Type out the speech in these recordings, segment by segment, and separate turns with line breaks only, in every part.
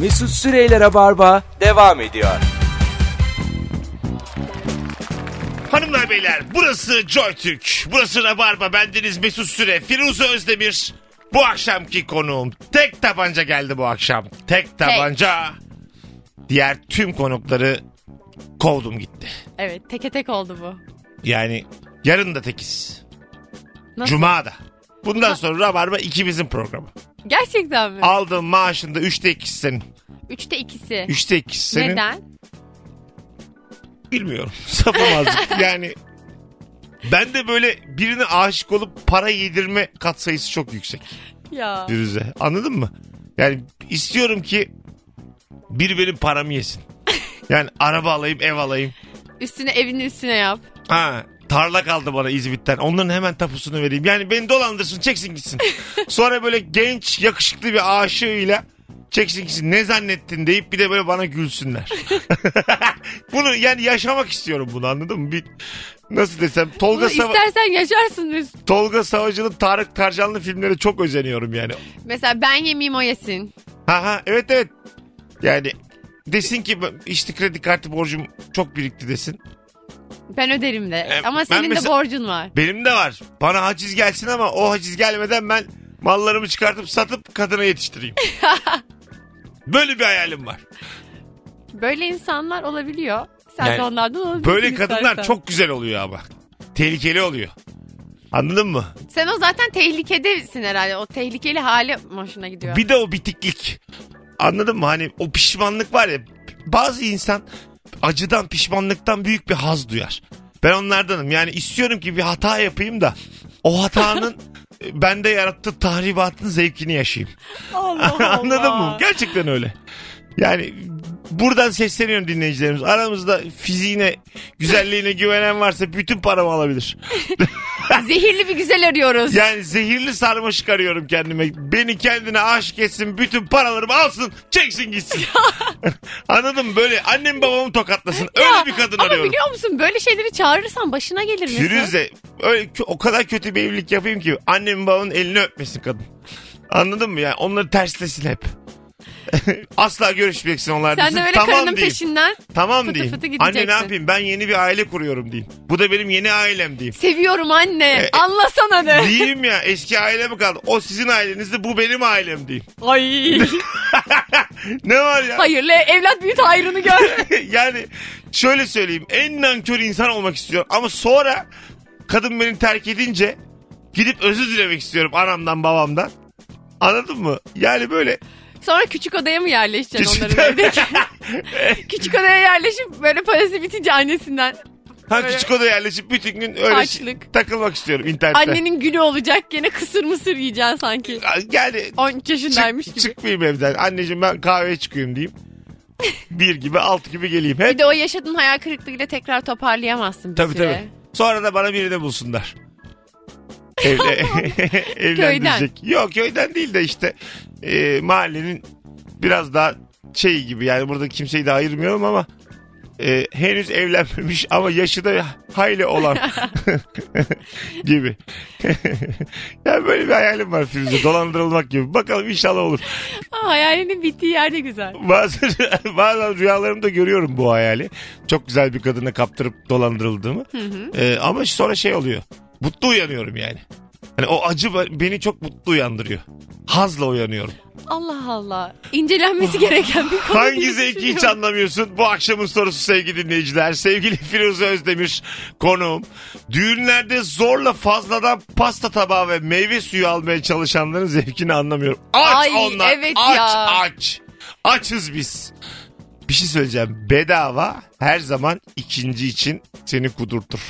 Mesut Süreyler'e barba devam ediyor.
Hanımlar beyler burası JoyTürk. Burası Rabarba. Bendeniz Mesut Süre. Firuze Özdemir. Bu akşamki konuğum tek tabanca geldi bu akşam. Tek tabanca. Diğer tüm konukları kovdum gitti.
Evet teke tek oldu bu.
Yani yarın da tekiz.
Nasıl?
Cuma da. Bundan sonra Rabarba ikimizin programı.
Gerçekten mi?
Aldığın maaşın da üçte ikisi senin.
Üçte ikisi.
Üçte ikisi senin.
Neden?
Bilmiyorum. Safım azıcık. yani ben de böyle birine aşık olup para yedirme katsayısı çok yüksek.
Ya.
Firuze. Anladın mı? Yani istiyorum ki biri benim paramı yesin. Yani araba alayım, ev alayım.
Üstüne evini üstüne yap.
Ha, tarla kaldı bana İzmit'ten. Onların hemen tapusunu vereyim. Yani beni dolandırsın, çeksin gitsin. Sonra böyle genç, yakışıklı bir aşığıyla çeksin gitsin. Ne zannettin deyip bir de böyle bana gülsünler. bunu yani yaşamak istiyorum bunu anladın mı? Bir, nasıl desem Tolga,
Bunu
Sava-
istersen yaşarsın Mesut.
Tolga Savacı'nın Tarık Tarcanlı filmlere çok özeniyorum yani.
Mesela ben yemeyeyim o yesin.
Ha ha evet evet. Yani desin ki ben- işte kredi kartı borcum çok birikti desin.
Ben öderim de.
Ee, ben
Ama senin de
mesela-
borcun var.
Benim de var. Bana haciz gelsin ama o haciz gelmeden ben mallarımı çıkartıp satıp kadına yetiştireyim. Böyle bir hayalim var.
Böyle insanlar olabiliyor. Sen
Yani
de onlardan olabilirsin
Böyle kadınlar
istersen.
çok güzel oluyor ama. Tehlikeli oluyor. Anladın mı?
Sen o zaten tehlikedesin herhalde. O tehlikeli hali hoşuna gidiyor.
Bir de o bitiklik. Anladın mı? Hani o pişmanlık var ya. Bazı insan acıdan pişmanlıktan büyük bir haz duyar. Ben onlardanım. Yani istiyorum ki bir hata yapayım da o hatanın e, bende yarattığı tahribatın zevkini yaşayayım.
Allah Allah.
Anladın mı? Gerçekten öyle. Yani buradan sesleniyorum dinleyicilerimiz. Aramızda fiziğine, güzelliğine güvenen varsa bütün paramı alabilir.
Zehirli bir güzel arıyoruz.
Yani zehirli sarmaşık arıyorum kendime. Beni kendine aşık etsin, bütün paralarımı alsın, çeksin gitsin. Anladın mı? Böyle annem babamı tokatlasın.
Ya,
Öyle bir kadın
ama
arıyorum.
biliyor musun böyle şeyleri çağırırsan başına gelir Mesut.
Firuze öyle kö- o kadar kötü bir evlilik yapayım ki annemin babamın elini öpmesin kadın. Anladın mı? Yani onları terslesin hep. Asla görüşmeyeceksin onlarla.
Sen de böyle
tamam
karının
diyeyim.
peşinden
Tamam
fıtı
diyeyim.
fıtı
Anne ne
gideceksin.
yapayım? Ben yeni bir aile kuruyorum diyeyim. Bu da benim yeni ailem diyeyim.
seviyorum
E,
anne anlasana de.
Diyeyim ya eski aile mi kaldı? O sizin ailenizdi bu benim ailem diyeyim.
Ay.
Ne var ya?
Hayırlı evlat büyüt hayrını gör.
yani şöyle söyleyeyim. En nankör insan olmak istiyorum. Ama sonra kadın beni terk edince gidip özür dilemek istiyorum anamdan babamdan. Anladın mı? Yani böyle
Sonra küçük odaya mı yerleşeceksin
Küçük-
onların evdeki? küçük odaya yerleşip böyle parası bitince annesinden.
ha
Böyle-
küçük odaya yerleşip bütün gün öyle şey
Açlık.
takılmak istiyorum internette.
Annenin günü olacak gene kısır mısır yiyeceksin sanki.
Yani
13 yaşındaymış
çık,
gibi.
çıkmayayım evden. Anneciğim ben kahveye çıkıyorum diyeyim. Bir gibi alt gibi geleyim.
Bir
Hep
de o yaşadığın hayal kırıklığıyla tekrar toparlayamazsın bir
tabii
süre.
tabii. Sonra da bana birini bulsunlar. Evle, evlendirecek. Yok köyden değil de işte e, mahallenin biraz daha şey gibi yani burada kimseyi de ayırmıyorum ama e, henüz evlenmemiş ama yaşı da hayli olan gibi. yani böyle bir hayalim var Firuze dolandırılmak gibi. Bakalım inşallah olur.
Aa, hayalinin bittiği yer de güzel.
Bazen, bazen rüyalarımda görüyorum bu hayali. Çok güzel bir kadına kaptırıp dolandırıldığımı. Ee, ama sonra şey oluyor. Mutlu uyanıyorum yani. Hani o acı be- beni çok mutlu uyandırıyor. Hazla uyanıyorum.
Allah Allah. İncelenmesi gereken bir konu.
Hangi
diye
zevki hiç
düşünüyorum.
anlamıyorsun? Bu akşamın sorusu sevgili dinleyiciler. Sevgili Firuze Özdemir konuğum. Düğünlerde zorla fazladan pasta tabağı ve meyve suyu almaya çalışanların zevkini anlamıyorum. Aç
Ay,
onlar.
evet
aç
ya.
aç. Açız biz. Bir şey söyleyeceğim. Bedava her zaman ikinci için seni kudurtur.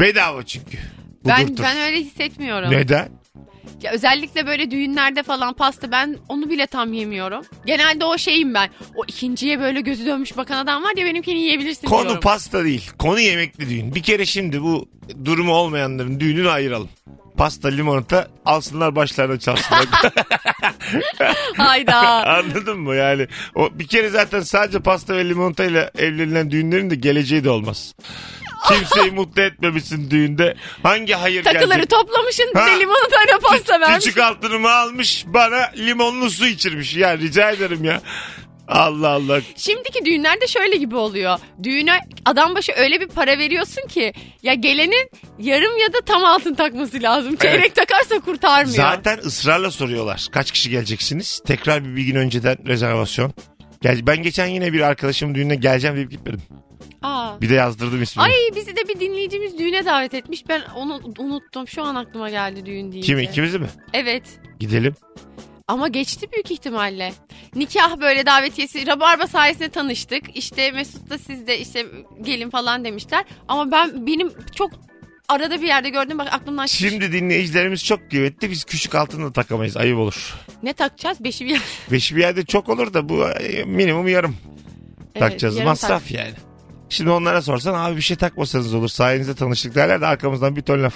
Bedava çünkü.
Ben,
Kudurtur.
ben öyle hissetmiyorum.
Neden?
Ya özellikle böyle düğünlerde falan pasta ben onu bile tam yemiyorum. Genelde o şeyim ben. O ikinciye böyle gözü dönmüş bakan adam var ya benimkini yiyebilirsin
Konu
diyorum.
pasta değil. Konu yemekli düğün. Bir kere şimdi bu durumu olmayanların düğününü ayıralım. Pasta, limonata alsınlar başlarına çalsınlar.
Hayda.
Anladın mı yani? O bir kere zaten sadece pasta ve limonatayla evlenilen düğünlerin de geleceği de olmaz. Kimseyi mutlu etmemişsin düğünde. Hangi hayır
Takıları
gelecek?
toplamışın
Ha.
bir de limonata tane pasta vermiş.
Küçük altınımı almış bana limonlu su içirmiş. Ya rica ederim ya. Allah Allah.
Şimdiki düğünlerde şöyle gibi oluyor. Düğüne adam başı öyle bir para veriyorsun ki ya gelenin yarım ya da tam altın takması lazım. Çeyrek takarsa kurtarmıyor.
Zaten ısrarla soruyorlar. Kaç kişi geleceksiniz? Tekrar bir, bir gün önceden rezervasyon. Gel, ben geçen yine bir arkadaşımın düğününe geleceğim deyip gitmedim.
Aa.
Bir de yazdırdım ismini.
Ay bizi de bir dinleyicimiz düğüne davet etmiş. Ben onu unuttum. Şu an aklıma geldi düğün deyince.
Kim, ikimizi mi?
Evet.
Gidelim.
Ama geçti büyük ihtimalle. Nikah böyle davetiyesi. Rabarba sayesinde tanıştık. İşte Mesut da siz de işte gelin falan demişler. Ama ben benim çok arada bir yerde gördüm. Bak aklımdan çıkmış.
Şimdi dinleyicilerimiz çok kıymetli. Biz küçük altın da takamayız. Ayıp olur.
Ne takacağız? Beşi bir
Beşi bir yerde çok olur da bu e, minimum yarım takacağız.
yarım
Masraf
tak.
yani. Şimdi onlara sorsan abi bir şey takmasanız olur. Sayenizde tanıştık derler de arkamızdan bir ton laf.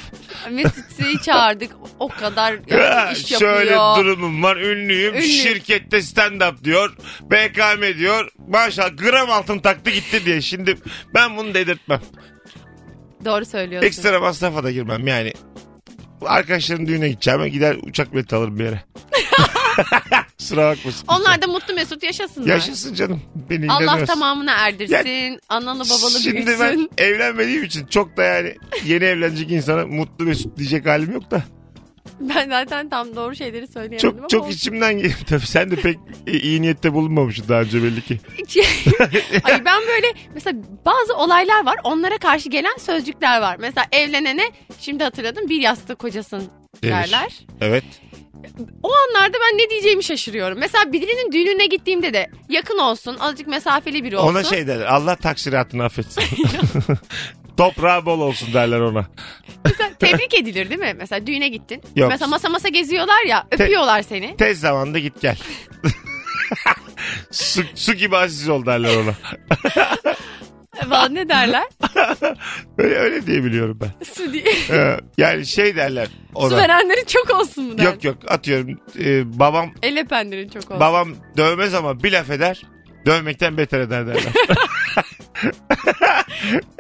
Mesut'u çağırdık. O kadar
Ha,
yani iş yapıyor.
Ee, Şöyle durumum var ünlüyüm
Ünlü.
şirkette stand up diyor BKM diyor maşallah gram altın taktı gitti diye şimdi ben bunu dedirtmem
Doğru söylüyorsun.
ekstra masrafa da girmem yani arkadaşların düğüne gideceğime gider uçak bileti alırım bir yere sıra bakmasın
Onlar da mutlu mesut yaşasınlar.
yaşasın canım beni
Allah
ilgilenmez.
tamamına erdirsin. analı babalı
Şimdi
büyüsün.
ben evlenmediğim için çok da yani yeni evlenecek insana mutlu mesut diyecek halim yok da.
Ben zaten tam doğru şeyleri söyleyemedim ama
Çok çok
olsun.
içimden geliyor. Tabii sen de pek iyi niyette bulunmamışsın daha önce belli ki.
Ay ben böyle mesela bazı olaylar var. Onlara karşı gelen sözcükler var. Mesela evlenene şimdi hatırladım bir yastık kocasın
Denir.
derler.
Evet.
O anlarda ben ne diyeceğimi şaşırıyorum. Mesela birinin düğününe gittiğimde de yakın olsun, azıcık mesafeli biri olsun.
Ona şey derler. Allah taksiratını affetsin. Toprağı bol olsun derler ona.
Mesela tebrik edilir değil mi? Mesela düğüne gittin.
Yok.
Mesela masa masa geziyorlar ya, öpüyorlar seni.
Tez zamanda git gel. su, su gibi aziz ol derler ona.
Vallahi ne derler?
Öyle, öyle diye biliyorum ben.
Su diye.
Ee, yani şey derler
Su
ona.
verenlerin çok olsun mu der?
Yok yok atıyorum. Ee, babam
El öpenlerin çok olsun.
Babam dövmez ama bir laf eder. Dövmekten beter eder derler.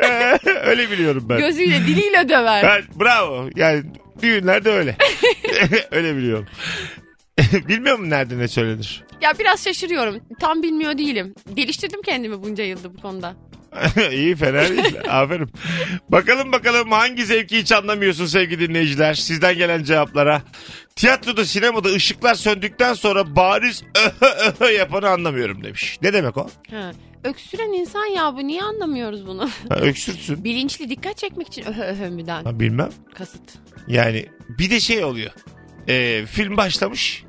Ee, öyle biliyorum ben.
Gözüyle diliyle döver.
ben. Bravo. Yani düğünlerde öyle. öyle biliyorum. Bilmiyor musun nerede ne söylenir?
Ya biraz şaşırıyorum. Tam bilmiyor değilim. Geliştirdim kendimi bunca yılda bu konuda.
İyi fena değil. Aferin. Bakalım bakalım hangi zevki hiç anlamıyorsun sevgili dinleyiciler. Sizden gelen cevaplara. Tiyatroda sinemada ışıklar söndükten sonra bariz öhö öhö yapanı anlamıyorum demiş. Ne demek o?
Ha. Öksüren insan ya bu niye anlamıyoruz bunu?
Ha, öksürsün.
Bilinçli dikkat çekmek için Öh, öhö öhö müden
Ha, bilmem.
kasıt.
Yani bir de şey oluyor. Ee, film başlamış.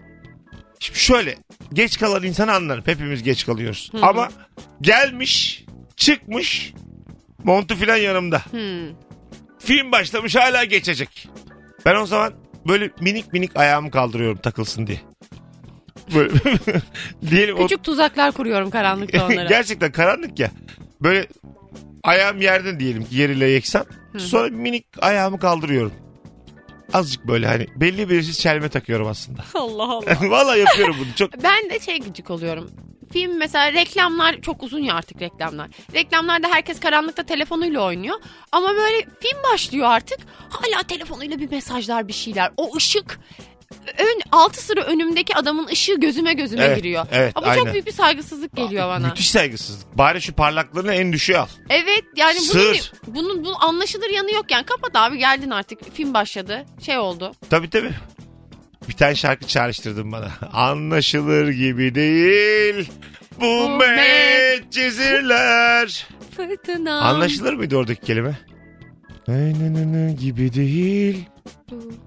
Şimdi şöyle geç kalan insanı anlarım. Hepimiz geç kalıyoruz. Ama gelmiş, çıkmış. Montu filan yanımda.
Hmm.
Film başlamış hala geçecek. Ben o zaman böyle minik minik ayağımı kaldırıyorum takılsın diye. Böyle diyelim o-
Küçük tuzaklar kuruyorum karanlıkta onlara.
Gerçekten karanlık ya. Böyle ayağım yerden diyelim ki yeriyle yeksan. Sonra minik ayağımı kaldırıyorum. Azıcık böyle hani belli belirsiz çelme takıyorum aslında.
Allah Allah.
Valla yapıyorum bunu çok.
Ben de şey gıcık oluyorum. Film mesela reklamlar çok uzun ya artık reklamlar. Reklamlarda herkes karanlıkta telefonuyla oynuyor. Ama böyle film başlıyor artık. Hala telefonuyla bir mesajlar bir şeyler. O ışık ön altı sıra önümdeki adamın ışığı gözüme gözüme
Evet,
giriyor.
evet,
Ama
aynen.
çok büyük bir saygısızlık geliyor bana.
Müthiş saygısızlık. Bari şu parlaklığını en düşüğe al.
Evet yani bunun,
Sır.
bunun, bunun anlaşılır yanı yok yani. Kapat abi geldin artık. Film başladı. Şey oldu.
Tabii tabii. Bir tane şarkı çağrıştırdın bana. Anlaşılır gibi değil. Bu
Bu
medcezirler.
Fırtına.
Anlaşılır mıydı oradaki kelime? Aynanana gibi değil.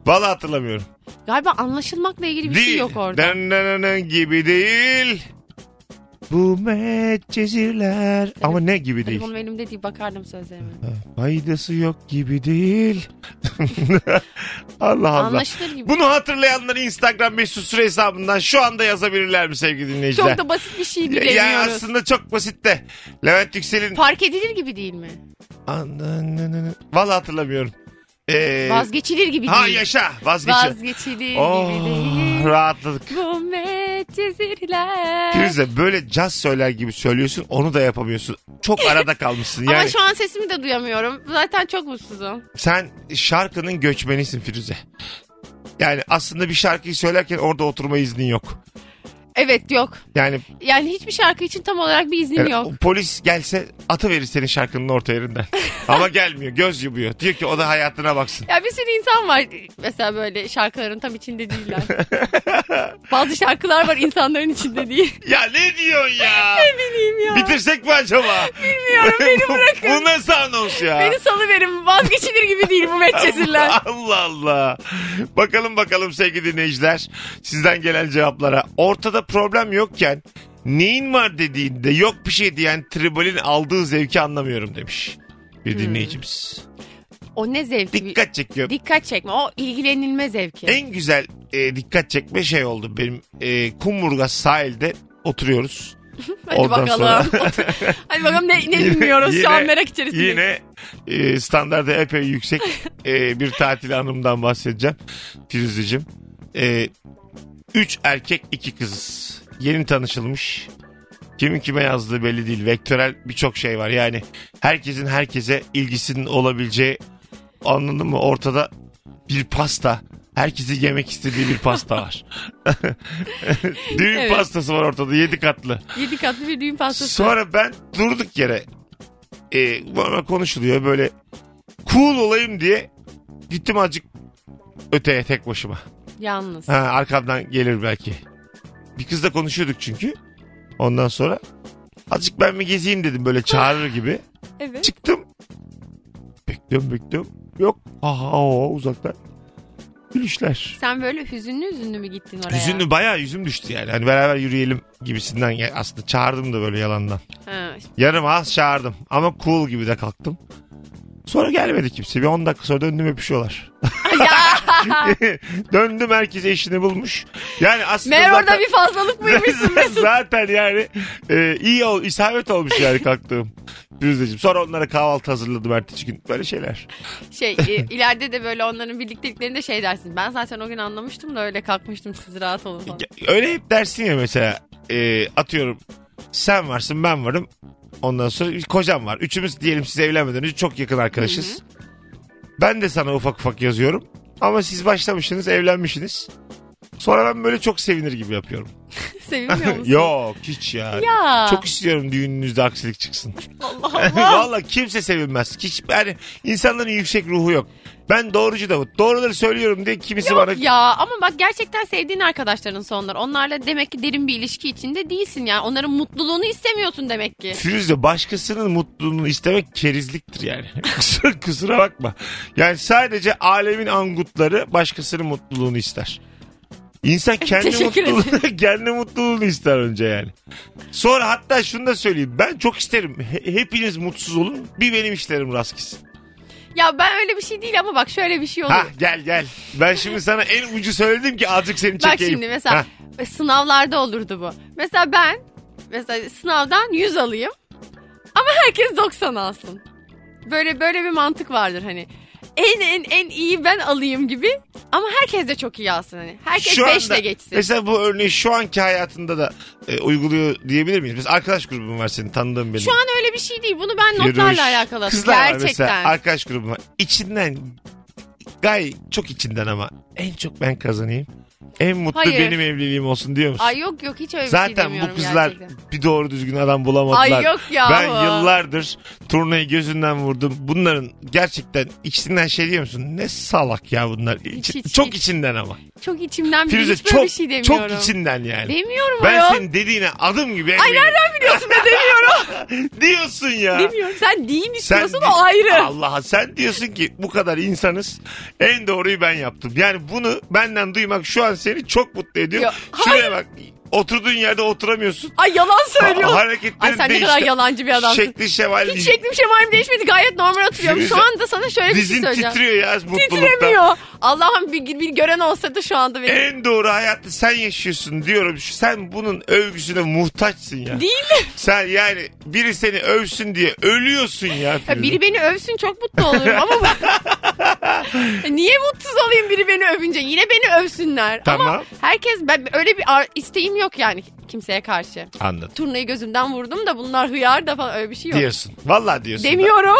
Valla hatırlamıyorum.
Galiba anlaşılmakla ilgili bir şey
Değil.
yok orada.
Dandanana gibi değil. Bu medcezirler. Ama ne gibi değil.
Telefonum elimde değil bakardım sözlerime.
Faydası yok gibi değil. Allah Allah.
Anlaşılır gibi.
Bunu hatırlayanları Instagram mesut süre hesabından şu anda yazabilirler mi sevgili dinleyiciler?
Çok da basit bir şey
Ya- ya
bilemiyoruz.
aslında çok basit de. Levent Yüksel'in
Fark edilir gibi değil mi?
Ananana. Vallahi hatırlamıyorum. Ee,
Vazgeçilir gibi
ha
değil.
yaşa vazgeçin.
Vazgeçilir gibi
Oh
değil.
rahatladık.
Bu medcezirler.
Firuze böyle caz söyler gibi söylüyorsun onu da yapamıyorsun. Çok arada kalmışsın yani.
Ama şu an sesimi de duyamıyorum. Zaten çok mutsuzum.
Sen şarkının göçmenisin Firuze. Yani aslında bir şarkıyı söylerken orada oturma iznin yok.
Evet yok.
Yani
Yani hiçbir şarkı için tam olarak bir iznim
Yani
yok.
o polis gelse atıverir senin şarkının orta yerinden. Ama gelmiyor göz yumuyor. Diyor ki o da hayatına baksın.
Ya bir sürü insan var mesela böyle şarkıların tam içinde değiller. Bazı şarkılar var insanların içinde değil.
Ya ne diyorsun ya?
Bileyim ya.
Bitirsek mi acaba?
Bilmiyorum, beni bırakın.
bu nasıl anons ya?
Beni salıverin vazgeçilir gibi değil bu metçesirler.
Allah Allah. Bakalım bakalım sevgili dinleyiciler. Sizden gelen cevaplara. Ortada problem yokken neyin var dediğinde yok bir şey diyen tribalin aldığı zevki anlamıyorum demiş.
Hmm.
Bir dinleyicimiz.
O ne zevki?
Dikkat çekiyor.
Dikkat çekme o ilgilenilme zevki.
En güzel e, dikkat çekme şey oldu. Benim e, Kumburgaz sahilde oturuyoruz.
Hadi
Ondan
bakalım.
sonra-
Hadi bakalım ne, ne bilmiyoruz şu an merak içerisindeyiz.
Yine e, standardı epey yüksek e, bir tatil anımdan bahsedeceğim. Firuzeciğim. E, üç erkek iki kızız. Yeni tanışılmış. Kimin kime yazdığı belli değil. Vektörel birçok şey var. Yani herkesin herkese ilgisinin olabileceği anladın mı? Ortada bir pasta. Herkesin yemek istediği bir pasta var. Düğün
Evet.
pastası var ortada. Yedi katlı.
Yedi katlı bir düğün pastası.
Sonra ben durduk yere e, bana konuşuluyor böyle cool olayım diye gittim azıcık öteye tek başıma.
Yalnız.
Ha, arkamdan gelir belki. Bir kızla konuşuyorduk çünkü. Ondan sonra azıcık ben mi gezeyim dedim böyle çağırır gibi.
Evet.
Çıktım. Bekliyorum bekliyorum. Yok. Aha o uzaktan. Gülüşler.
Sen böyle hüzünlü hüzünlü mü gittin oraya?
Yüzünü bayağı yüzüm düştü yani. Hani beraber yürüyelim gibisinden. gel- Aslında çağırdım da böyle yalandan.
Ha,
Yarım ağız çağırdım ama cool gibi de kalktım. Sonra gelmedi kimse. Bir 10 dakika sonra döndüm öpüşüyorlar. döndüm herkes eşini bulmuş. Yani aslında
Meğer
zaten,
orada bir fazlalık mıymışsın Mesut?
zaten yani e, iyi ol, isabet olmuş yani kalktığım. Firuze'cim. Sonra onlara kahvaltı hazırladım ertesi gün. Böyle şeyler.
Şey e, ileride de böyle onların birlikteliklerinde şey dersin. Ben zaten o gün anlamıştım da öyle kalkmıştım siz rahat olun falan.
Öyle hep dersin ya mesela e, atıyorum sen varsın ben varım. Ondan sonra bir kocam var. Üçümüz diyelim siz evlenmeden önce çok yakın arkadaşız. Ben de sana ufak ufak yazıyorum. Ama siz başlamışsınız evlenmişsiniz. Sonra ben böyle çok sevinir gibi yapıyorum.
Sevinmiyor musun?
Yok hiç ya.
Ya.
Çok istiyorum düğününüzde aksilik çıksın.
Allah Allah.
Valla kimse sevinmez. Hiç yani insanların yüksek ruhu yok. Ben doğrucu da bu. Doğruları söylüyorum diye kimisi bana
ya ama bak gerçekten sevdiğin arkadaşların sonlar. Onlarla demek ki derin bir ilişki içinde değilsin yani. Onların mutluluğunu istemiyorsun demek ki.
Firuze başkasının mutluluğunu istemek kerizliktir yani. kusura, kusura bakma. Yani sadece alemin angutları başkasının mutluluğunu ister. İnsan kendi
Teşekkür
mutluluğunu, kendi mutluluğunu ister önce yani. Sonra hatta şunu da söyleyeyim. Ben çok isterim. He- hepiniz mutsuz olun. Bir benim işlerim rast gitsin.
Ya ben öyle bir şey değil ama bak şöyle bir şey olur.
Hah gel gel. Ben şimdi sana en ucu söyledim ki azıcık seni çekeyim.
Bak şimdi mesela
Hah.
e, sınavlarda olurdu bu. Mesela ben mesela sınavdan 100 alayım ama herkes 90 alsın. Böyle böyle bir mantık vardır hani. En en en iyi ben alayım gibi ama herkes de çok iyi alsın hani. Herkes 5
anda-
ile geçsin.
Mesela bu örneği şu anki hayatında da e, uyguluyor diyebilir miyiz? Biz arkadaş grubum var senin tanıdığın benim.
Şu an öyle bir şey değil. Bunu ben notlarla
Yürüyüş.
alakalı.
Kızlar var mesela
Gerçekten.
arkadaş grubuma. İçinden gay çok içinden ama en çok ben kazanayım. En mutlu
Hayır.
benim evliliğim olsun diyor musun?
Ay yok yok hiç öyle bir şey
Zaten
demiyorum
bu kızlar
gerçekten.
bir doğru düzgün adam bulamadılar.
Ay yok ya.
Ben yıllardır turnayı gözünden vurdum. Bunların gerçekten içinden şey diyor musun? Ne salak ya bunlar. İçi-
hiç,
çok
hiç.
içinden ama.
Çok içimden bile
Firuze
hiç böyle
çok
bir şey demiyorum.
çok içinden yani.
Demiyorum
ben
ayol.
senin dediğine adım gibi
Ay
eminim.
nereden biliyorsun ne demiyorum.
diyorsun ya.
demiyorum. Sen din
Sen
istiyorsun
di-
o ayrı.
Allah'a sen diyorsun ki bu kadar insanız en doğruyu ben yaptım. Yani bunu benden duymak şu an seni çok mutlu ediyor.
Ya,
Şuraya bak Oturduğun yerde oturamıyorsun.
Ay yalan söylüyor.
Ha- hareketlerin
Ay sen ne
değişti.
kadar yalancı bir adamsın.
Şekli şemal
Hiç şeklim şemalim değişmedi. Gayet normal oturuyorum. Şu
Firuze,
anda sana şöyle bir şey
Dizin
söyleyeceğim.
titriyor ya mutluluktan. E-
Titremiyor. Allah'ım bir, bir gören olsaydı şu anda beni.
En doğru hayatı sen yaşıyorsun diyorum. Şu- Sen bunun övgüsüne muhtaçsın ya.
Değil mi?
Sen yani biri seni övsün diye ölüyorsun ya. Firuze.
Ya biri beni övsün çok mutlu olurum ama bu- niye mutsuz olayım biri beni övünce? Yine beni övsünler.
Tamam.
Ama herkes ben öyle bir ar- isteğim yok yani kimseye karşı.
Anladım.
Turnayı gözümden vurdum da bunlar hıyar da falan öyle bir şey yok.
Diyorsun. Vallahi diyorsun.
Demiyorum.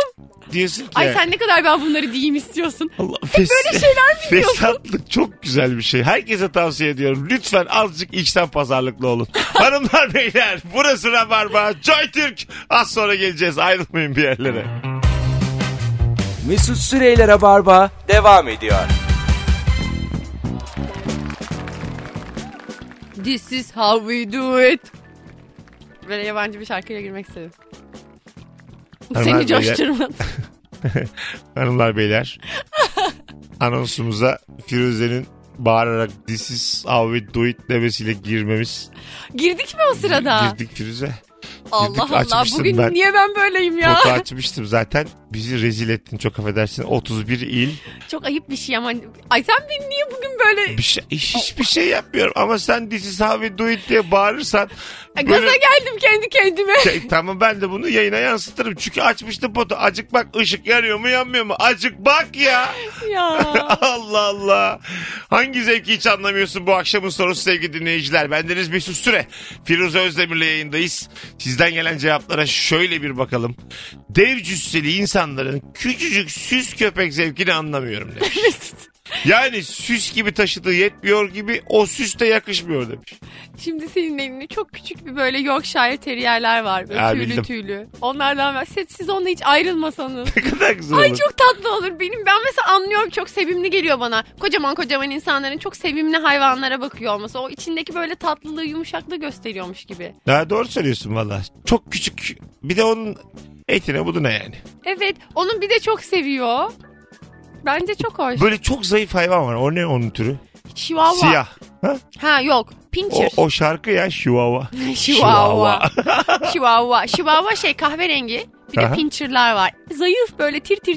Diyorsun ki.
Ay
yani-
sen ne kadar ben bunları diyeyim istiyorsun.
Allah, fes-
böyle şey şeyler biliyorsun.
Fesatlık çok güzel bir şey. Herkese tavsiye ediyorum. Lütfen azıcık içten pazarlıklı olun. Hanımlar beyler burası Rabarba. Joy Türk. Az sonra geleceğiz. Ayrılmayın bir yerlere.
Mesut Süreyler'e barba devam ediyor.
This is how we do it. Böyle yabancı bir şarkıyla girmek istedim.
Hemen böyle-
Seni coşturmadı.
Hanımlar beyler. Anonsumuza Firuze'nin bağırarak this is how we do it demesiyle girmemiz.
Girdik mi o sırada?
Girdik Firuze.
Allah
girdik,
Allah
açmışsın
bugün
ben.
niye ben böyleyim ya?
Foto açmıştım zaten. Bizi rezil ettin çok affedersin. 31 il.
Çok ayıp bir şey ama. Ay sen beni niye bugün böyle
Bir şey, hiçbir şey yapmıyorum ama sen this is how we do it diye bağırırsan
Ay,
böyle-
gaza geldim kendi kendime.
Şey, tamam ben de bunu yayına yansıtırım. Çünkü açmıştım potu. Acık bak ışık yanıyor mu yanmıyor mu? Acık bak ya.
ya.
Allah Allah. Hangi zevki hiç anlamıyorsun bu akşamın sorusu sevgili dinleyiciler. Bendeniz Mesut Süre. Firuze Özdemir'le yayındayız. Sizden gelen cevaplara şöyle bir bakalım. Dev cüsseli insanların küçücük süs köpek zevkini anlamıyorum demiş. Yani süs gibi taşıdığı yetmiyor gibi o süs de yakışmıyor demiş.
Şimdi senin elinde çok küçük bir böyle Yorkshire terrierler var. Böyle
Ya,
tüylü
bildim.
tüylü. Onlardan ver. Siz, siz onunla hiç ayrılmasanız.
Ne kadar güzel
Ay
olur.
çok tatlı olur benim. Ben mesela anlıyorum çok sevimli geliyor bana. Kocaman kocaman insanların çok sevimli hayvanlara bakıyor olması. O içindeki böyle tatlılığı yumuşaklığı gösteriyormuş gibi.
Ha, doğru söylüyorsun valla. Çok küçük. Bir de onun etine buduna yani.
Evet onun bir de çok seviyor. Bence çok hoş.
Böyle çok zayıf hayvan var. O ne onun türü?
Chihuahua.
Siyah. Ha?
Ha yok.
O,
Pincher.
o şarkı ya Chihuahua.
Chihuahua. Chihuahua. Chihuahua şey kahverengi. Bir de
Aha.
pincher'lar var. Zayıf böyle tir tir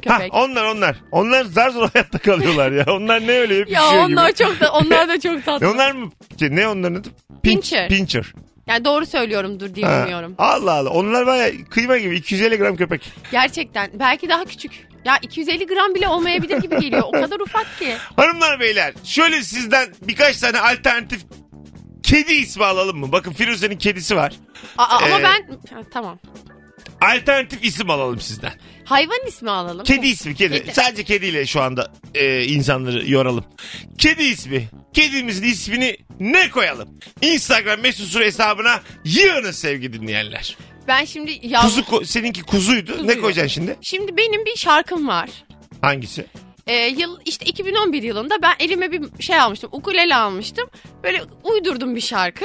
ha,
köpek.
onlar onlar. Onlar zar zor hayatta kalıyorlar ya. Onlar ne öyle hep
ya
üşüyor
onlar
gibi.
çok da onlar da çok
E
tatlı.
Onlar mı? Şey, Ne onların adı? Pin-
Pincher.
Pincher.
Yani doğru söylüyorumdur diye
Ha.
umuyorum.
Allah Allah. Onlar baya kıyma gibi. 250 gram köpek.
Gerçekten belki daha küçük. Ya 250 gram bile olmayabilir gibi geliyor. O kadar ufak ki.
Hanımlar beyler. Şöyle sizden birkaç tane alternatif kedi ismi alalım mı? Bakın Firuze'nin kedisi var.
Aa, ama
Ee,
ben Ha, tamam.
Alternatif isim alalım sizden.
Hayvan ismi alalım.
Kedi ismi kedi.
Kedi.
Sadece kediyle şu anda e, insanları yoralım. Kedi ismi. Kedimizin ismini ne koyalım? Instagram mesut süre hesabına yığınız sevgili dinleyenler.
Ben şimdi ya
Kuzu ko- seninki kuzuydu. Ne
Kuzuydu.
koyacaksın şimdi?
Şimdi benim bir şarkım var.
Hangisi?
Ee, yıl işte 2011 yılında ben elime bir şey almıştım. Ukulele almıştım. Böyle uydurdum bir şarkı.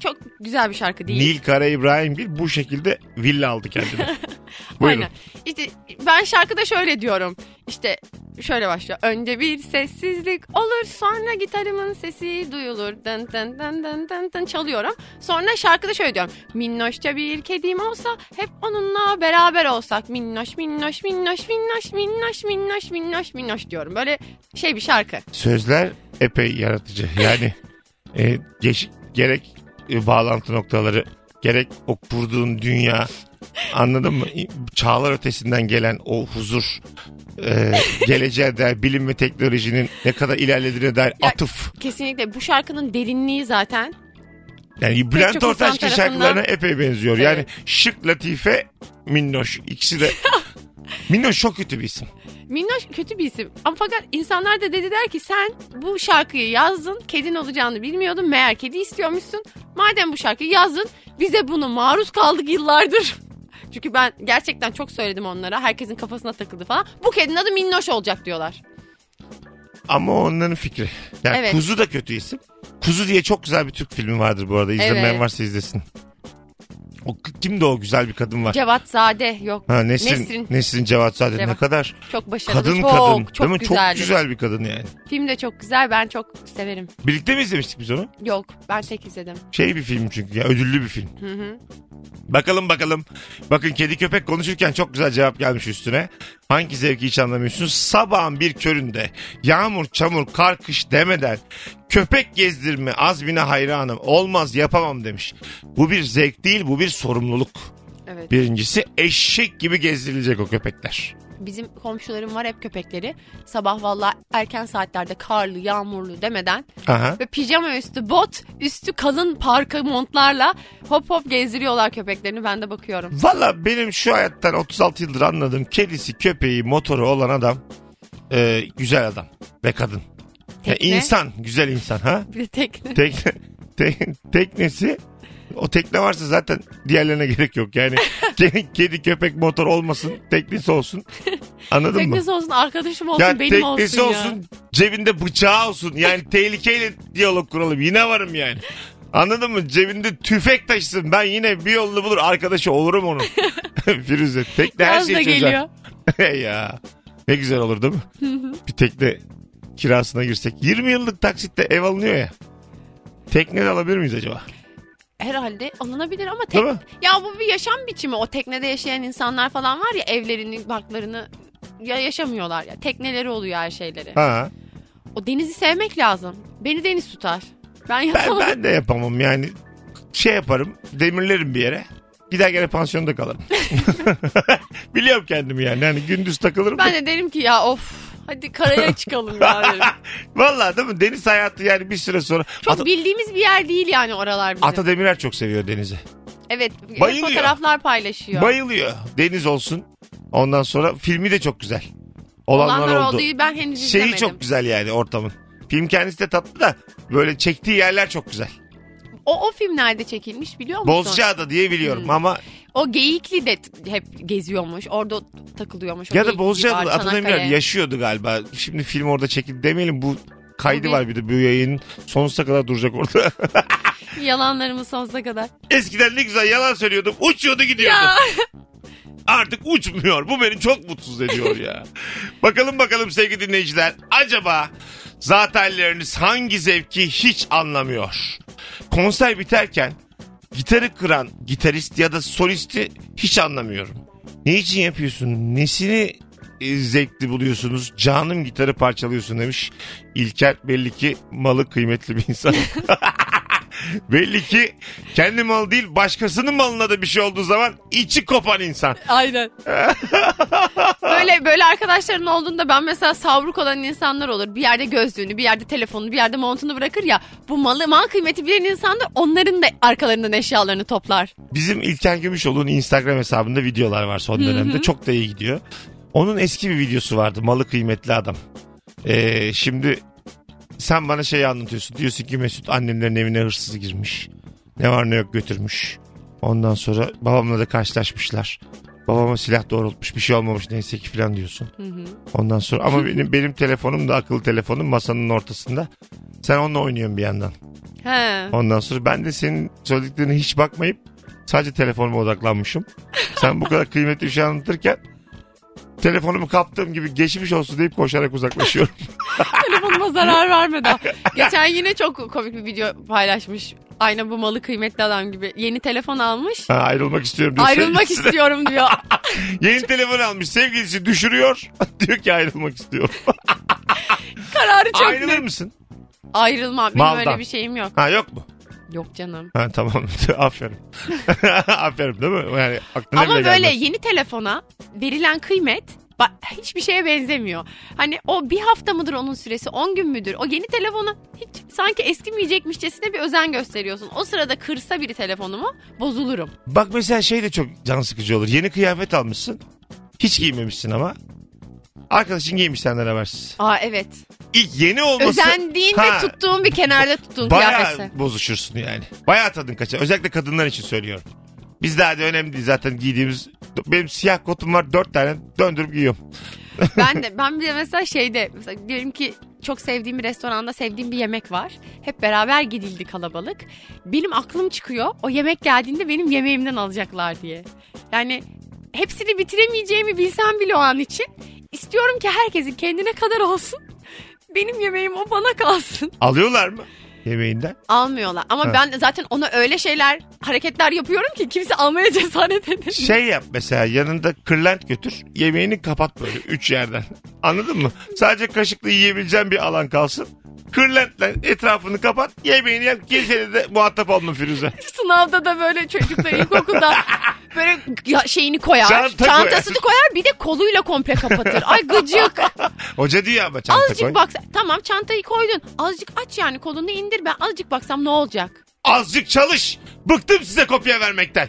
Çok güzel bir şarkı değil.
Nil Kara İbrahimgil bu şekilde villa aldı kendine. Buyurun.
Aynen. İşte ben şarkıda şöyle diyorum. İşte şöyle başlıyor. Önce bir sessizlik olur sonra gitarımın sesi duyulur. Dın dın dın dın dın dın çalıyorum. Sonra şarkıda şöyle diyorum. Minnoşça bir kedim olsa hep onunla beraber olsak. Minnoş minnoş minnoş minnoş minnoş minnoş minnoş minnoş diyorum. Böyle şey bir şarkı.
Sözler epey yaratıcı. Yani e, geç- gerek e, bağlantı noktaları gerek o kurduğun dünya anladın mı? Çağlar ötesinden gelen o huzur e, geleceğe dair bilim ve teknolojinin ne kadar ilerlediğine dair
Ya-
atıf.
Kesinlikle bu şarkının derinliği zaten.
Yani Bülent
çok insan
Ortaçgil
tarafından-
şarkılarına epey benziyor. Yani
Evet.
şık, latife, minnoş. ikisi de Minnoş çok kötü bir isim.
Minnoş kötü bir isim. Ama fakat insanlar da dediler ki sen bu şarkıyı yazdın. Kedin olacağını bilmiyordun. Meğer kedi istiyormuşsun. Madem bu şarkıyı yazdın bize bunu maruz kaldık yıllardır. Çünkü ben gerçekten çok söyledim onlara. Herkesin kafasına takıldı falan. Bu kedinin adı Minnoş olacak diyorlar.
Ama o onların fikri. Yani
Evet.
Kuzu da kötü isim. Kuzu diye çok güzel bir Türk filmi vardır bu arada. İzlemeyen
Evet.
varsa izlesin. O, kimdi o güzel bir kadın var?
Cevat Zade yok.
Ha, Nesrin, Nesrin.
Nesrin.
Cevat Sade ne
Cevat.
kadar
Çok başarılı.
kadın
çok,
kadın.
Çok,
değil mi?
güzeldi.
Çok güzel bir kadın yani.
Film de çok güzel. Ben çok severim.
Birlikte mi izlemiştik biz onu?
Yok ben tek izledim.
Şey bir film çünkü ya ödüllü bir film.
Hı hı.
Bakalım bakalım. Bakın kedi köpek konuşurken çok güzel cevap gelmiş üstüne. Hangi zevki hiç anlamıyorsunuz? Sabahın bir köründe yağmur çamur kar kış demeden köpek gezdirme azmine hayranım olmaz yapamam demiş. Bu bir zevk değil bu bir sorumluluk.
Evet.
Birincisi eşek gibi gezdirilecek o köpekler.
Bizim komşularım var hep köpekleri. Sabah valla erken saatlerde karlı, yağmurlu demeden
Aha.
ve pijama üstü bot, üstü kalın parka montlarla hop hop gezdiriyorlar köpeklerini. Ben de bakıyorum.
Valla benim şu hayattan 36 yıldır anladığım kedisi köpeği motoru olan adam e, güzel adam ve kadın. Ya
Tekne.
insan güzel insan ha.
Bir de tekne.
tekne, te- teknesi o tekne varsa zaten diğerlerine gerek yok. Yani ke- kedi köpek motor olmasın teknesi olsun. Anladın mı?
Teknesi olsun, arkadaşım olsun,
Ya
benim olsun.
teknesi olsun,
Ya.
cebinde bıçağı olsun. Yani tehlikeyle diyalog kuralım. Yine varım yani. Anladın mı? Cebinde tüfek taşısın. Ben yine bir yolunu bulur. Arkadaşı olurum onun. Firuze tekne her şey
Yaz da
şeyi çözer.
geliyor.
Hey ya. Ne güzel olur değil mi? bir tekne kirasına girsek. 20 yıllık taksitte ev alınıyor ya. Tekne de alabilir miyiz acaba?
Herhalde alınabilir ama tek...
Değil mi?
Ya bu bir yaşam biçimi. O teknede yaşayan insanlar falan var ya evlerini, barklarını ya yaşamıyorlar ya. Tekneleri oluyor her şeyleri.
Ha.
O denizi sevmek lazım. Beni deniz tutar.
Ben,
Ben yapamam.
ben de yapamam yani. Şey yaparım. Demirlerim bir yere. Gider gene pansiyonda kalırım. Biliyorum kendimi yani. Hani gündüz takılırım.
Ben de derim ki ya of hadi karaya çıkalım ya derim.
Vallahi değil mi? Deniz hayatı yani bir süre sonra.
Çok
Ata,
bildiğimiz bir yer değil yani oralar bizim.
Ata Demirer çok seviyor denizi.
evet
Bayılıyor.
fotoğraflar paylaşıyor.
Bayılıyor. Deniz olsun. Ondan sonra filmi de çok güzel. Olanlar,
Olanlar
oldu.
olduğu ben henüz
Şeyi
izlemedim.
çok güzel yani ortamın. Film kendisi de tatlı da böyle çektiği yerler çok güzel.
O, o film nerede çekilmiş biliyor musun?
Bozcaada diye biliyorum
Hmm.
ama
O Geyikli de t- hep geziyormuş. Orada takılıyormuş. O
ya da
Geyikli
Bozcaada
civarı,
Ata Demirer
Çanakkale.
yaşıyordu galiba. Şimdi film orada çekildi demeyelim bu kaydı
Bu bir-
var bir de bu yayın sonsuza kadar duracak orada.
Yalanlarımız sonsuza kadar.
Eskiden ne güzel yalan söylüyordum. Uçuyordu gidiyordu.
Ya.
artık uçmuyor. Bu beni çok mutsuz ediyor ya. bakalım bakalım sevgili dinleyiciler. Acaba zatenleriniz hangi zevki hiç anlamıyor? Konser biterken gitarı kıran gitarist ya da solisti hiç anlamıyorum. Ne için yapıyorsun? Nesini e, zevkli buluyorsunuz? Canım gitarı parçalıyorsun demiş. İlker belli ki malı kıymetli bir insan. belli ki kendi malı değil başkasının malına da bir şey olduğu zaman içi kopan insan.
Aynen. böyle böyle arkadaşların olduğunda ben mesela savruk olan insanlar olur. Bir yerde gözlüğünü, bir yerde telefonunu, bir yerde montunu bırakır ya. Bu malı, mal kıymeti bilen insanlar onların da arkalarından eşyalarını toplar.
Bizim İlker Gümüşoğlu'nun Instagram hesabında videolar var son dönemde. Çok da iyi gidiyor. Onun eski bir videosu vardı. Malı kıymetli adam. Ee, şimdi sen bana şeyi anlatıyorsun. Diyorsun ki Mesut annemlerin evine hırsız girmiş. Ne var ne yok götürmüş. Ondan sonra babamla da karşılaşmışlar. Babama silah doğrultmuş bir şey olmamış neyse ki falan diyorsun. Ondan sonra ama benim benim telefonum da akıllı telefonum masanın ortasında. Sen onunla oynuyorsun bir yandan.
He.
Ondan sonra ben de senin söylediklerine hiç bakmayıp sadece telefonuma odaklanmışım. Sen bu kadar kıymetli bir şey anlatırken telefonumu kaptığım gibi geçmiş olsun deyip koşarak uzaklaşıyorum.
Telefonuma zarar vermedi. Geçen yine çok komik bir video paylaşmış. Aynen bu malı kıymetli adam gibi. Yeni telefon almış.
Ha, ayrılmak istiyorum diyor.
Ayrılmak
sevgilisi.
istiyorum diyor.
Yeni telefon almış sevgilisi düşürüyor. diyor ki ayrılmak istiyorum.
Kararı çok
Ayrılır
net.
mısın?
Ayrılmam. Benim
Maldan.
öyle bir şeyim yok.
Ha yok mu?
Yok canım.
Ha tamam. Aferin. Aferin değil mi? Yani aklına
Ama
bile
böyle
gelmez.
yeni telefona verilen kıymet bak hiçbir şeye benzemiyor. Hani o bir hafta mıdır onun süresi, 10 gün müdür? O yeni telefona hiç sanki eskimeyecekmişçesine bir özen gösteriyorsun. O sırada kırsa biri telefonumu bozulurum.
Bak mesela şey de çok can sıkıcı olur. Yeni kıyafet almışsın. Hiç giymemişsin ama. Arkadaşın giymiş senden habersiz.
Aa evet.
İlk yeni olması...
Özendiğin
Ha,
ve tuttuğun bir kenarda tuttuğun
Bayağı
kıyafeti.
bozuşursun yani. Bayağı tadın kaçar. Özellikle kadınlar için söylüyorum. Biz daha da önemli değil zaten giydiğimiz. Benim siyah kotum var dört tane döndürüp giyiyorum.
Ben de ben bir de mesela şeyde mesela diyelim ki çok sevdiğim bir restoranda sevdiğim bir yemek var. Hep beraber gidildi kalabalık. Benim aklım çıkıyor. O yemek geldiğinde benim yemeğimden alacaklar diye. Yani hepsini bitiremeyeceğimi bilsem bile o an için istiyorum ki herkesin kendine kadar olsun. Benim yemeğim o bana kalsın.
Alıyorlar mı yemeğinden?
Almıyorlar. Ama
Ha.
ben zaten ona öyle şeyler, hareketler yapıyorum ki kimse almaya cesaret edemiyor.
Şey yap mesela yanında kırlent götür. Yemeğini kapat böyle üç yerden. Anladın mı? Sadece kaşıkla yiyebileceğin bir alan kalsın. Kırlentle etrafını kapat. Yemeğini yap. Gecede de muhatap olma Firuze.
Sınavda da böyle çocuklar ilkokulda böyle ya şeyini koyar.
Çanta
çantasını koyar. bir de koluyla komple kapatır. Ay gıcık.
Hoca diyor ama çanta koy.
azıcık bak. Tamam çantayı koydun. Azıcık aç yani kolunu indir. Ben azıcık baksam ne olacak?
Azıcık çalış. Bıktım size kopya vermekten.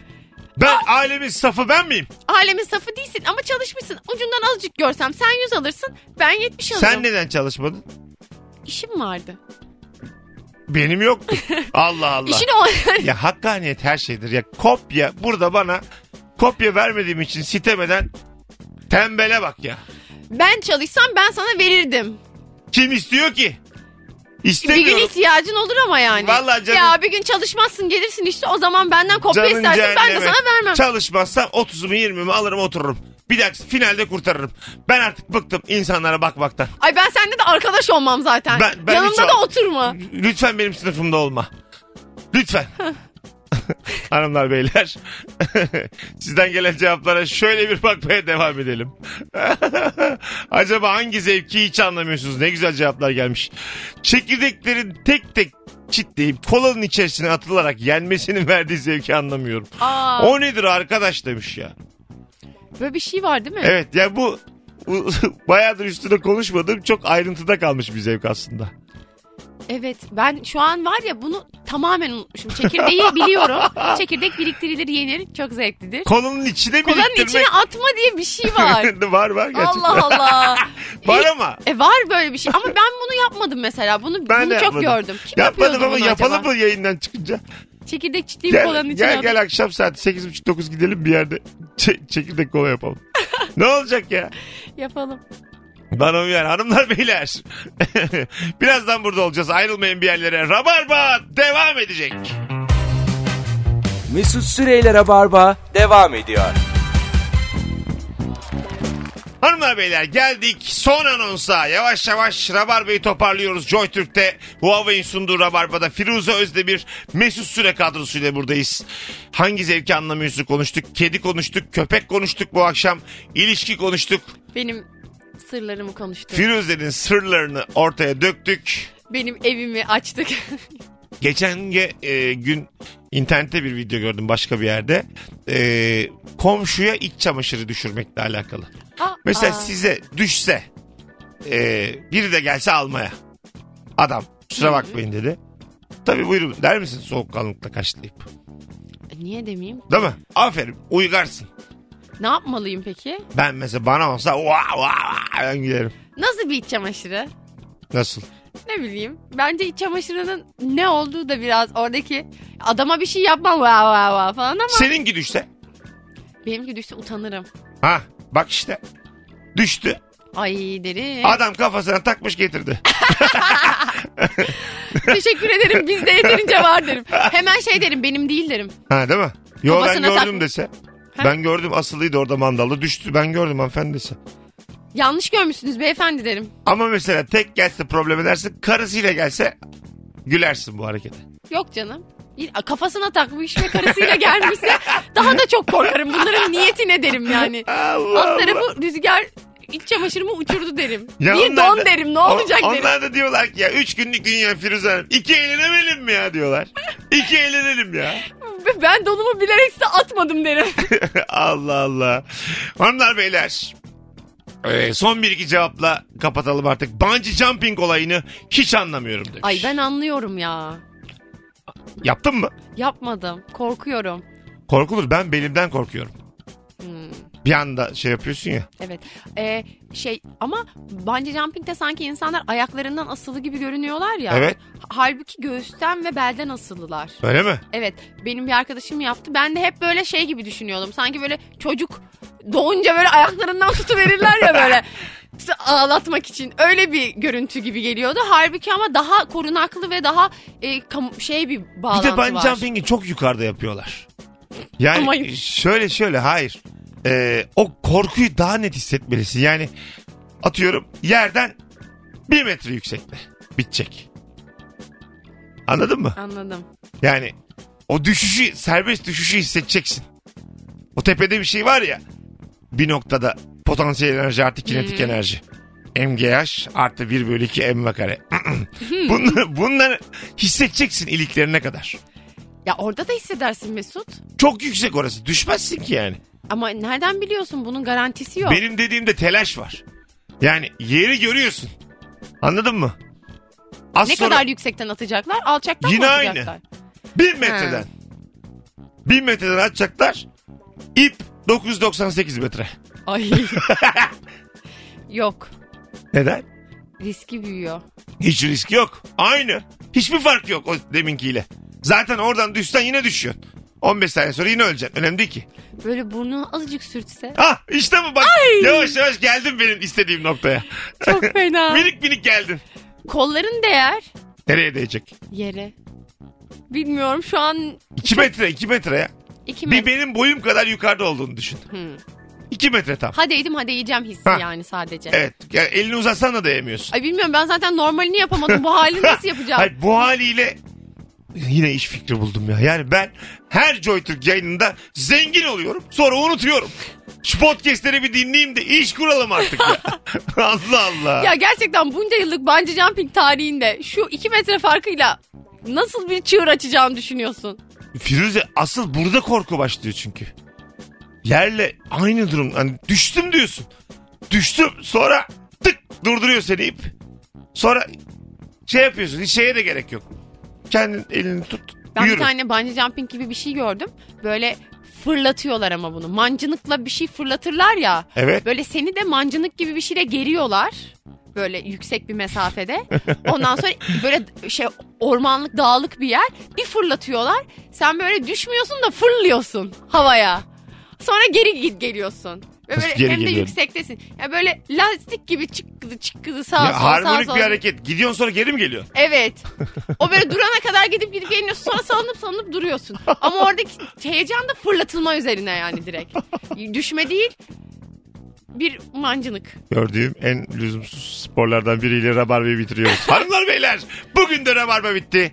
Ben ailemin safı ben miyim?
Alemin safı değilsin ama çalışmışsın. Ucundan azıcık görsem sen 100 alırsın. Ben 70 alırım.
Sen neden çalışmadın?
İşim vardı.
Benim yoktu. Allah Allah.
İşini o...
Ya hakkaniyet her şeydir. Ya kopya burada bana kopya vermediğim için sitemeden tembele bak ya.
ben çalışsam ben sana verirdim.
Kim istiyor ki?
Bir gün
İstemiyorum.
ihtiyacın olur ama yani.
Vallahi canım-
Ya bir gün çalışmazsın gelirsin işte o zaman benden kopya
Canın
istersin ben de
cehenneme.
sana vermem.
Çalışmazsam 30'umu 20'mi alırım otururum. Bir dakika finalde kurtarırım. Ben artık bıktım insanlara bakmaktan.
Ay ben seninle de arkadaş olmam zaten.
Ben- ben hiç
Yanımda
al-
da oturma.
Lütfen benim sınıfımda olma. Lütfen. Hanımlar beyler sizden gelen cevaplara şöyle bir bakmaya devam edelim. Acaba hangi zevki hiç anlamıyorsunuz? Ne güzel cevaplar gelmiş. Çekirdeklerin tek tek çitleyip kolanın içerisine atılarak yenmesinin verdiği zevki anlamıyorum.
Aa,
O nedir arkadaş demiş ya.
Böyle bir şey var değil mi?
Evet ya bu bu bayağıdır üstüne konuşmadığım çok ayrıntıda kalmış bir zevk aslında.
Evet ben şu an var ya bunu tamamen unutmuşum. Çekirdeği biliyorum. Çekirdek biriktirilir yenir. Çok zevklidir.
Kolonun içine
Kolanın
biriktirmek.
içine atma diye bir şey var.
var var gerçekten.
Allah Allah.
Var ama.
E var böyle bir şey ama ben bunu yapmadım mesela. Bunu
Ben
bunu
de
çok
yapmadım.
gördüm. Kim
Yapmadım
yapıyordu
ama
bunu
yapalım
acaba?
mı yayından çıkınca?
Çekirdek çitleyip kolanın
Gel,
içine
gel,
atıp-
gel akşam saat 8.30-9 gidelim bir yerde çe- çekirdek kola yapalım. ne olacak ya?
yapalım.
Bana uyar hanımlar beyler. Birazdan burada olacağız. Ayrılmayın bir yerlere. Rabarba devam edecek.
Mesut Süreyler'e barba devam ediyor.
Hanımlar beyler geldik son anonsa. Yavaş yavaş Rabarba'yı toparlıyoruz. JoyTürk'te Huawei'in sunduğu Rabarba'da Firuze Özdemir, Mesut Süre kadrosuyla buradayız. Hangi zevki anlamıyorsun konuştuk. Kedi konuştuk, köpek konuştuk bu akşam. ilişki konuştuk.
Benim sırlarımı konuştuk.
Firuze'nin sırlarını ortaya döktük.
Benim evimi açtık.
Geçen ge- e, gün internette bir video gördüm başka bir yerde. E, komşuya iç çamaşırı düşürmekle alakalı.
Aa,
Mesela
aa.
size düşse e, biri de gelse almaya. Adam kusura bakmayın dedi. Tabii buyurun der misin soğukkanlıkla karşılayıp?
Niye demeyeyim?
Değil mi? Aferin uygarsın.
Ne yapmalıyım peki?
Ben mesela bana olsa vaa vaa vaa ben giderim.
Nasıl bir iç çamaşırı?
Nasıl?
Ne bileyim. Bence iç çamaşırının ne olduğu da biraz oradaki adama bir şey yapmam va va va falan ama
Seninki düşse.
benimki düşse utanırım.
Ha bak işte düştü.
Ay derim.
Adam kafasına takmış getirdi.
Teşekkür ederim. Bizde yeterince var derim. Hemen şey derim. Benim değil derim.
Ha değil mi? Yo ben
Kafasına
gördüm
tak-
dese.
Ha?
Ben gördüm asılıydı orada mandalda düştü ben gördüm hanımefendi dese.
Yanlış görmüşsünüz beyefendi derim.
Ama mesela tek gelse problem edersin karısıyla gelse gülersin bu harekete.
Yok canım. İl- Kafasına takmış ve karısıyla gelmişse daha da çok korkarım. Bunların niyeti ne derim yani.
Allah
Alt tarafı rüzgar iç çamaşırımı uçurdu derim.
Ya
bir
onlar
don
da-
derim ne
O-
olacak derim.
Onlar da diyorlar ki ya 3 günlük dünya Firuze Hanım. 2 eğlenelim mi ya diyorlar. 2 eğlenelim ya.
Ben donumu bilerek size atmadım derim.
Allah Allah. Hanımlar beyler. Ee, son bir iki cevapla kapatalım artık. Bungee jumping olayını hiç anlamıyorum demiş.
Ay ben anlıyorum ya.
Yaptın mı?
Yapmadım. Korkuyorum.
Korkulur ben belimden korkuyorum.
Hmm,
Bir anda şey yapıyorsun ya.
evet. Ee, şey ama bungee jumping'de sanki insanlar ayaklarından asılı gibi görünüyorlar ya.
Evet.
Halbuki göğüsten ve belden asılılar.
Öyle mi?
Evet. Benim bir arkadaşım yaptı. Ben de hep böyle şey gibi düşünüyordum. Sanki böyle çocuk doğunca böyle ayaklarından tutuverirler ya böyle. ağlatmak için öyle bir görüntü gibi geliyordu. Halbuki ama daha korunaklı ve daha e, kam- şey bir
Bir
bağlantı
de bungee
var.
jumping'i çok yukarıda yapıyorlar. Yani
Ama-
şöyle şöyle hayır. Ee, o korkuyu daha net hissetmelisin. Yani atıyorum yerden bir metre yüksekte bitecek. Anladın mı?
Anladım.
Yani o düşüşü serbest düşüşü hissedeceksin. O tepede bir şey var ya. Bir noktada potansiyel enerji artı kinetik
Hmm.
enerji. MGH artı 1 bölü 2 M kare. bunları, bunları hissedeceksin iliklerine kadar.
Ya orada da hissedersin Mesut.
Çok yüksek orası. Düşmezsin ki yani.
Ama nereden biliyorsun bunun garantisi yok.
Benim dediğimde telaş var. Yani yeri görüyorsun. Anladın mı? Az
ne
sonra
kadar yüksekten atacaklar? Alçaktan
Yine
mı
aynı.
atacaklar?
bin metreden. Bin metreden atacaklar. İp 998 metre.
Ay. yok.
Neden?
Riski büyüyor.
Hiç risk yok. Aynı. Hiçbir fark yok o deminkiyle. Zaten oradan düşsen yine düşüyorsun. 15 saniye sonra yine öleceksin. Önemli değil ki.
Böyle burnunu azıcık sürtse.
Ah işte bu bak. Yavaş yavaş geldin benim istediğim noktaya.
Çok fena.
minik minik geldin.
Kolların değer
Nereye değecek?
yere. Bilmiyorum şu an
2 metre 2 metre ya.
2
Bir
metre.
benim boyum kadar yukarıda olduğunu düşün. 2 metre tam.
Hadi yedim hadi yiyeceğim hissi
Ha.
yani sadece.
Evet. Yani elini uzatsan da değemiyorsun.
Ay bilmiyorum ben zaten normalini yapamadım. Bu hali nasıl yapacağım?
Hayır bu haliyle yine iş fikri buldum ya. Yani ben her JoyTürk yayınında zengin oluyorum. Sonra unutuyorum. Şu podcastleri bir dinleyeyim de iş kuralım artık ya. Allah Allah.
Ya gerçekten bunca yıllık bungee jumping tarihinde şu 2 metre farkıyla nasıl bir çığır açacağını düşünüyorsun?
Firuze asıl burada korku başlıyor çünkü. Yerle aynı durum. Hani düştüm diyorsun. Düştüm sonra tık durduruyor seni ip. Sonra şey yapıyorsun. Hiç şeye de gerek yok. Kendin elini tut.
Ben
yürü.
bir tane bungee jumping gibi bir şey gördüm. Böyle fırlatıyorlar ama bunu. Mancınıkla bir şey fırlatırlar ya.
Evet.
Böyle seni de mancınık gibi bir şeyle geriyorlar. Böyle yüksek bir mesafede. Ondan sonra böyle şey ormanlık dağlık bir yer. Bir fırlatıyorlar. Sen böyle düşmüyorsun da fırlıyorsun havaya. Sonra geri git geliyorsun. Ve
Nasıl
böyle
geri
hem de
geliyorum?
yüksektesin. Ya böyle lastik gibi çıkkıdı çıkkıdı sağa
Ya
sola sağa
harmonik
sola.
bir hareket. Gidiyorsun sonra geri mi geliyor?
Evet. O böyle durana kadar gidip gidip geliyorsun. Sonra salınıp salınıp duruyorsun. Ama oradaki heyecan da fırlatılma üzerine yani direkt. Düşme değil. Bir mancınık.
Gördüğüm en lüzumsuz sporlardan biriyle Rabarba'yı bitiriyoruz. Hanımlar beyler bugün de Rabarba bitti.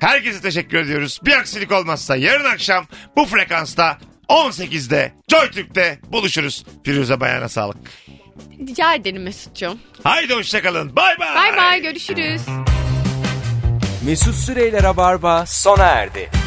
Herkese teşekkür ediyoruz. Bir aksilik olmazsa yarın akşam bu frekansta 18'de JoyTürk'te buluşuruz. Firuze Bayan'a sağlık.
Rica ederim Mesut'cum.
Haydi hoşçakalın. Bay bay.
Bay bay görüşürüz.
Mesut Süreyler'e barba sona erdi.